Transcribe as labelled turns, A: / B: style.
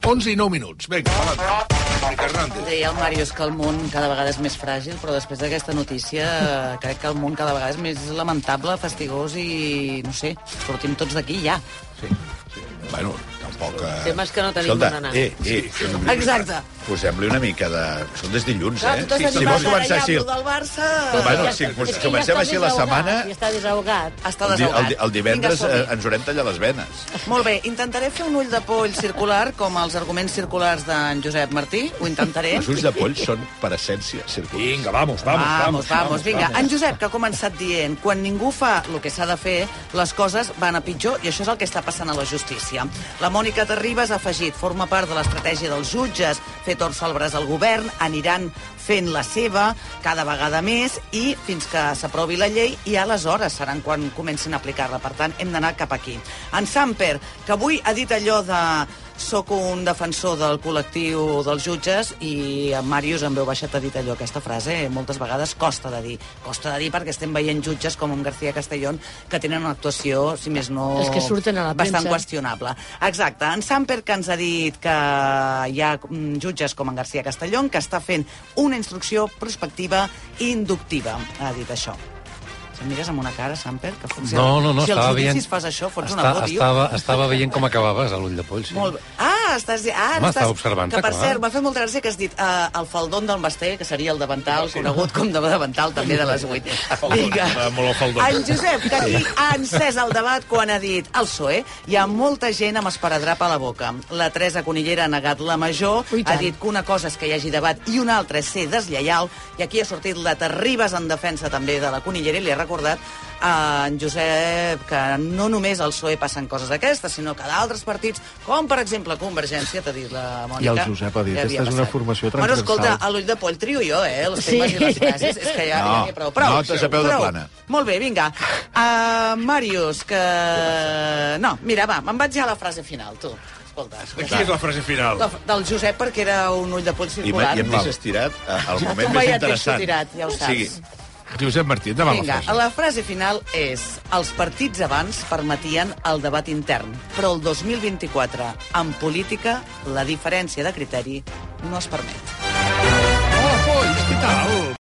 A: 11 i 9 minuts. Vinga, va, Hernández.
B: Deia el Màrius que el món cada vegada és més fràgil, però després d'aquesta notícia eh, crec que el món cada vegada és més lamentable, fastigós i, no sé, sortim tots d'aquí ja.
A: Bueno, tampoc... Eh...
C: Temes que no tenim on anar.
D: eh, eh,
B: Exacte.
D: posem-li una mica de... Són des dilluns,
B: Clar,
D: eh?
B: tu t'has
D: si
B: animat
D: vols començar
B: ara
D: així...
B: ja amb lo del Barça...
D: Bueno,
C: Ah, Ja
D: si
C: està- és que ja
D: comencem
C: està
D: així la
C: desahogat,
D: setmana-
C: Ja està desahogat.
B: Està
D: El, di-
B: desahogat.
D: el, el divendres
B: Vinga,
D: eh,
B: som-hi.
D: ens haurem tallat les venes.
B: Molt bé, intentaré fer un ull de poll circular, com els arguments circulars d'en Josep Martí. Ho intentaré.
D: Els ulls de poll són per essència circulars.
E: Vinga, vamos, vamos,
B: Vamos,
E: vamos.
B: vamos, vinga. En Josep, que ha començat dient quan ningú fa el que s'ha de fer, les coses van a pitjor i això és el que està passant a la justícia. La Mònica Terribas ha afegit, forma part de l'estratègia dels jutges, fer torça al braç al govern, aniran fent la seva cada vegada més i fins que s'aprovi la llei i aleshores seran quan comencin a aplicar-la. Per tant, hem d'anar cap aquí. En Samper, que avui ha dit allò de Soc un defensor del col·lectiu dels jutges i en Màrius en veu baixat ha dit allò, aquesta frase eh, moltes vegades costa de dir. Costa de dir perquè estem veient jutges com en García Castellón que tenen una actuació, si més no,
C: Els que surten a la
B: bastant
C: premsa.
B: qüestionable. Exacte. En Samper que ens ha dit que hi ha mm, jutges com en García Castellón que està fent una instrucció prospectiva i inductiva. Ha dit això. Em mires amb una cara, Samper, que funciona.
F: No, no, no,
B: si
F: estava
B: als judicis
F: veient...
B: fas això, fots
F: Està-
B: una bòdio.
F: estava, estava veient com acabaves a l'ull de poll, sí.
B: Molt bé. Ah, estàs... Ah,
F: Home,
B: ara estàs...
F: estava observant-te,
B: Que, per
F: clar.
B: cert, m'ha fet molta gràcia que has dit uh, el faldón del Basté, que seria el davantal, sí. conegut com de davantal també de les 8. Vinga.
E: Ah, molt el faldón.
B: En Josep, que aquí ha encès el debat quan ha dit el PSOE hi ha molta gent amb esparadrap a la boca. La Teresa Conillera ha negat la major,
C: Ui,
B: ha
C: tant.
B: dit que una cosa és que hi hagi debat i una altra és ser deslleial, i aquí ha sortit la Terribas en defensa també de la Conillera i li ha recordat a en Josep que no només al PSOE passen coses d'aquestes, sinó que d'altres partits, com per exemple Convergència, t'ha dit la Mònica.
G: I el Josep ha dit,
B: ja havia
G: "Aquesta és una
B: passat".
G: formació
B: Bueno,
G: transversal.
B: escolta, a l'ull de poll trio jo, eh, els
C: Sí.
B: temes i les frases, és que ja, ja
D: No,
B: n'hi ha prou. Prou,
D: notes a peu de
B: prou.
D: plana.
B: Molt bé, vinga. Uh, Màrius, que... No, mira, va, me'n vaig ja a la frase final, tu. Escolta,
E: De qui és la frase final?
B: la, del Josep perquè era un ull de poll
D: I, m'ha-
B: circular.
D: I hem vist estirat eh, al moment
B: tu
D: més
B: ja et deixo
D: interessant.
B: tirat, ja ho
D: O sigui,
B: saps.
A: Josep Martí, endavant
B: Vinga,
A: la frase.
B: la frase final és els partits abans permetien el debat intern, però el 2024, en política, la diferència de criteri no es permet.
A: Oh, Hola, polls, què tal?